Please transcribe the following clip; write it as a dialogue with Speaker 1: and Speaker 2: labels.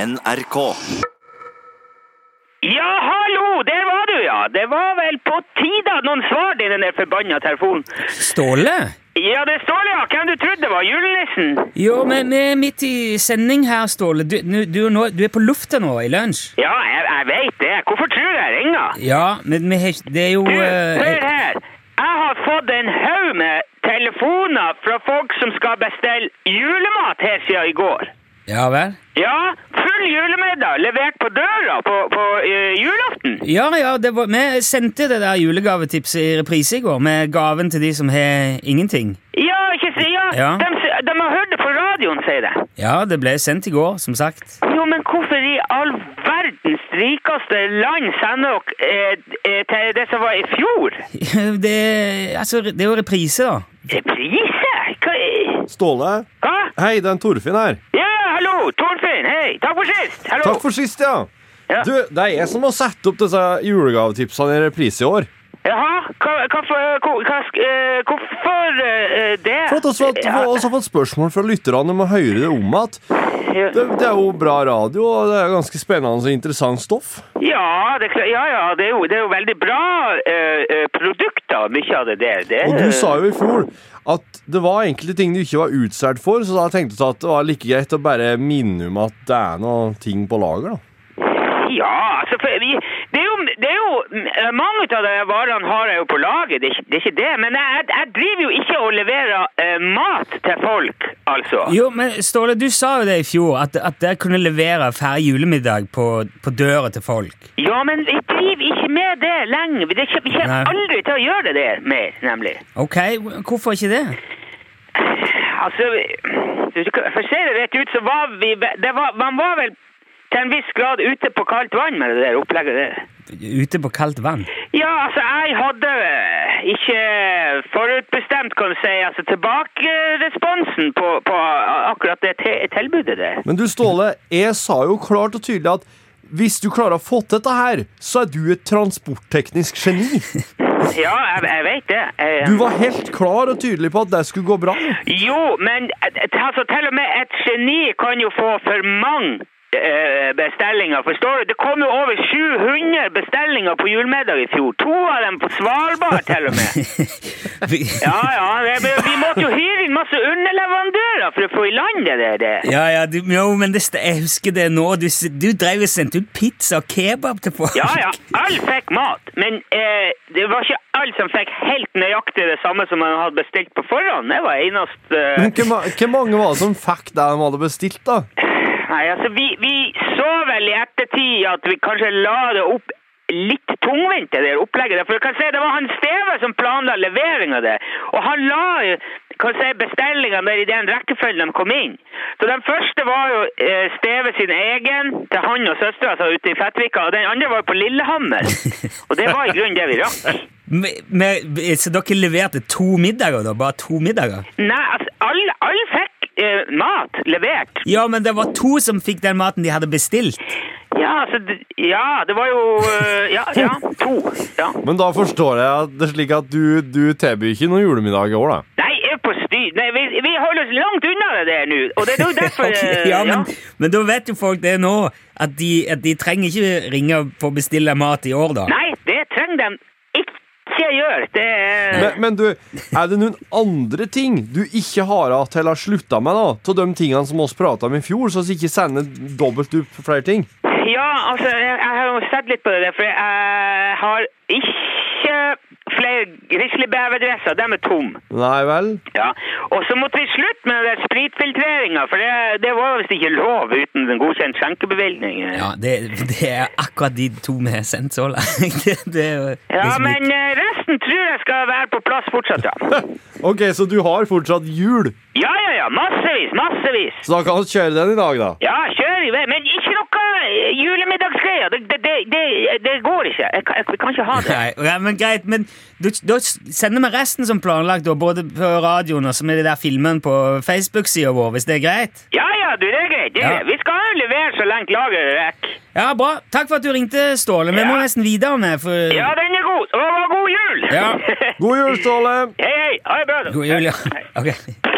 Speaker 1: NRK.
Speaker 2: Ja, hallo! Der var du, ja! Det var vel på tide at noen svarte i den der forbanna telefonen.
Speaker 3: Ståle?
Speaker 2: Ja, det står det, ja! Hvem du trodde det var? Julenissen?
Speaker 3: Jo, men vi er midt i sending her, Ståle. Du, nu- du, er nå- du er på lufta nå, i lunsj.
Speaker 2: Ja, jeg, jeg veit det. Hvorfor tror du jeg ringer?
Speaker 3: Ja, men vi har ikke Det er jo
Speaker 2: Du,
Speaker 3: eh,
Speaker 2: hør her! Jeg har fått en haug med telefoner fra folk som skal bestille julemat her siden i går.
Speaker 3: Ja vel?
Speaker 2: Ja, full julemiddag levert på døra på, på eh, julaften.
Speaker 3: Ja, ja, det var, vi sendte det der julegavetipset i reprise i går, med gaven til de som har ingenting.
Speaker 2: Ja, ikke si ja!
Speaker 3: Ja.
Speaker 2: De, s- de har hørt det på radioen, sier de.
Speaker 3: Ja, det ble sendt i går, som sagt.
Speaker 2: Jo, men hvorfor i all verdens rikeste land sender dere eh, eh, til det som var i fjor?
Speaker 3: Det, altså, det er jo reprise, da.
Speaker 2: Reprise? Hva? i-
Speaker 4: Ståle?
Speaker 2: Hva?
Speaker 4: Hei, det er en Torfinn her.
Speaker 2: Ja, hallo, Torfinn, hei, takk for sist, hallo.
Speaker 4: Takk for sist, ja.
Speaker 2: Ja.
Speaker 4: Du, det er jeg som må sette opp disse julegavetipsene i reprise i år.
Speaker 2: Jaha, hva, hva, for- hva, hva, sk- eh, hvorfor eh, det?
Speaker 4: For at oss har
Speaker 2: Ja,
Speaker 4: fått- oss har fått spørsmål fra lytterne om å høre det om at
Speaker 2: ja.
Speaker 4: det, det er jo bra radio, og det er ganske spennende og interessant stoff.
Speaker 2: Ja, det, er klart- ja, ja, det er jo, det er jo veldig bra eh, eh, produkter, mye av det der. Det,
Speaker 4: Og du sa jo i fjor at det var enkelte ting du ikke var utsolgt for, så da tenkte du at det var like greit å bare minne om at det er noe ting på lager, da.
Speaker 2: Ja, altså for, vi, det er jo, det er jo eh, Mange av de varene har jeg jo på lager, det er, ikke- det er ikke det. Men jeg, jeg- jeg driver jo ikke og leverer eh, mat til folk, altså.
Speaker 3: Jo, men Ståle, du sa jo det i fjor, at, at dere kunne levere ferdig julemiddag på, på døra til folk.
Speaker 2: Ja, men vi driver ikke med det lenger. Det er ikke- Vi
Speaker 3: Nei.
Speaker 2: kommer aldri til å gjøre det der mer, nemlig.
Speaker 3: Ok, hvorfor ikke det?
Speaker 2: Altså, vi- du skal- for å si det rett ut, så var vi ve- det var, Man var vel til en viss grad ute på kaldt vann med det der opplegget der.
Speaker 3: Ute på kaldt vann?
Speaker 2: Ja, altså, jeg hadde eh, ikke forutbestemt, kan du si, altså tilbakeresponsen på, på akkurat det te tilbudet der.
Speaker 4: Men du, Ståle, jeg sa jo klart og tydelig at hvis du klarer å få til dette her, så er du et transportteknisk geni.
Speaker 2: Ja, jeg, jeg vet det. Jeg,
Speaker 4: Du var helt klar og tydelig på at det skulle gå bra.
Speaker 2: Jo, men eh, altså, til og med et geni kan jo få for mange eh, bestillinger, forstår du? Det kom jo over 700 bestillinger på julemiddag i fjor. To av dem på Svalbard, til og med.
Speaker 3: Vi-
Speaker 2: Ja, ja, det, vi måtte jo hyre inn masse underleverandører for å få i land det der. Det.
Speaker 3: Ja, ja, du, jo, men det, st- jeg husker det nå. Du, s- du drev og sendte ut pizza og kebab til folk.
Speaker 2: Ja, ja. Alle fikk mat. Men eh, det var ikke alle som fikk helt nøyaktig det samme som man hadde bestilt på forhånd. Det var eneste eh,
Speaker 4: Men hvor ma- hvor mange var det som fikk det de hadde bestilt, da?
Speaker 2: Nei, altså, vi, vi så vel i ettertid at vi kanskje la det opp litt tungvint, det der opplegget. der. For jeg kan si, det var han Steve som planla leveringa der. Og han la jo kan si, bestillingene der i den rekkefølgen de kom inn. Så den første var jo eh, Steve sin egen til han og søstera altså, ute i Fettvika. Og den andre var jo på Lillehammer. Og det var i grunnen det vi rakk.
Speaker 3: Men- men- så dere leverte to middager, da? Bare to middager?
Speaker 2: Nei, altså, alle, alle fikk eh, mat levert.
Speaker 3: Ja, men det var to som fikk den maten de hadde bestilt.
Speaker 2: Ja, altså, det, ja, det var jo eh, Ja, ja, to. Ja.
Speaker 4: Men da forstår jeg at det er slik at du, du tilbyr ikke noen julemiddag i år, da.
Speaker 2: Nei, jeg er på styr. Nei, vi, vi holder oss langt unna det der nå. Og det er jo derfor eh,
Speaker 3: Ok, ja, men, men da vet jo folk det nå, at de, at de trenger ikke ringe for å bestille mat i år, da.
Speaker 2: Nei, det trenger de ikke gjøre. Det er
Speaker 4: Men, men du, er det noen andre ting du ikke har hatt eller har slutta med, da? Av de tingene som oss prata om i fjor, så vi ikke sender dobbelt opp flere ting?
Speaker 2: Ja, altså, jeg, jeg har jo sett litt på det der, for jeg har ikke flere grizzlybeverdresser. De er tomme.
Speaker 4: Nei vel?
Speaker 2: Ja, og så måtte vi slutte med den spritfiltreringa, for det, det var visst ikke lov uten en godkjent skjenkebevilgning.
Speaker 3: Ja, det, det er akkurat de to vi har sendt så langt. Det, det er jo
Speaker 2: Ja,
Speaker 3: liksom litt-
Speaker 2: men eh, resten tror jeg skal være på plass fortsatt, ja.
Speaker 4: OK, så du har fortsatt jul,
Speaker 2: Ja, ja, ja, massevis, massevis.
Speaker 4: så da kan vi kjøre den i dag, da.
Speaker 2: Ja, kjør i vei, men ikke noe eh, julemiddagsgreier. Det, det, det, det, det går ikke. Jeg, kan- jeg, vi kan ikke ha det.
Speaker 3: Nei, ja, men greit, men du, da sender vi resten som planlagt, da, både på radioen og så med de der filmen på Facebook-sida vår, hvis det er greit?
Speaker 2: Ja, ja, du, det er greit. Det,
Speaker 3: Ja.
Speaker 2: Vi skal jo levere så langt lageret rekker.
Speaker 3: Ja, bra. Takk for at du ringte, Ståle. Vi må
Speaker 2: Ja.
Speaker 3: nesten videre med, for
Speaker 2: Ja, den er god. Og god jul!
Speaker 3: Ja.
Speaker 4: God jul, Ståle!
Speaker 2: hei, hei. Ha det bra. da.
Speaker 3: God jul, ja.
Speaker 2: Hei.
Speaker 3: Ok.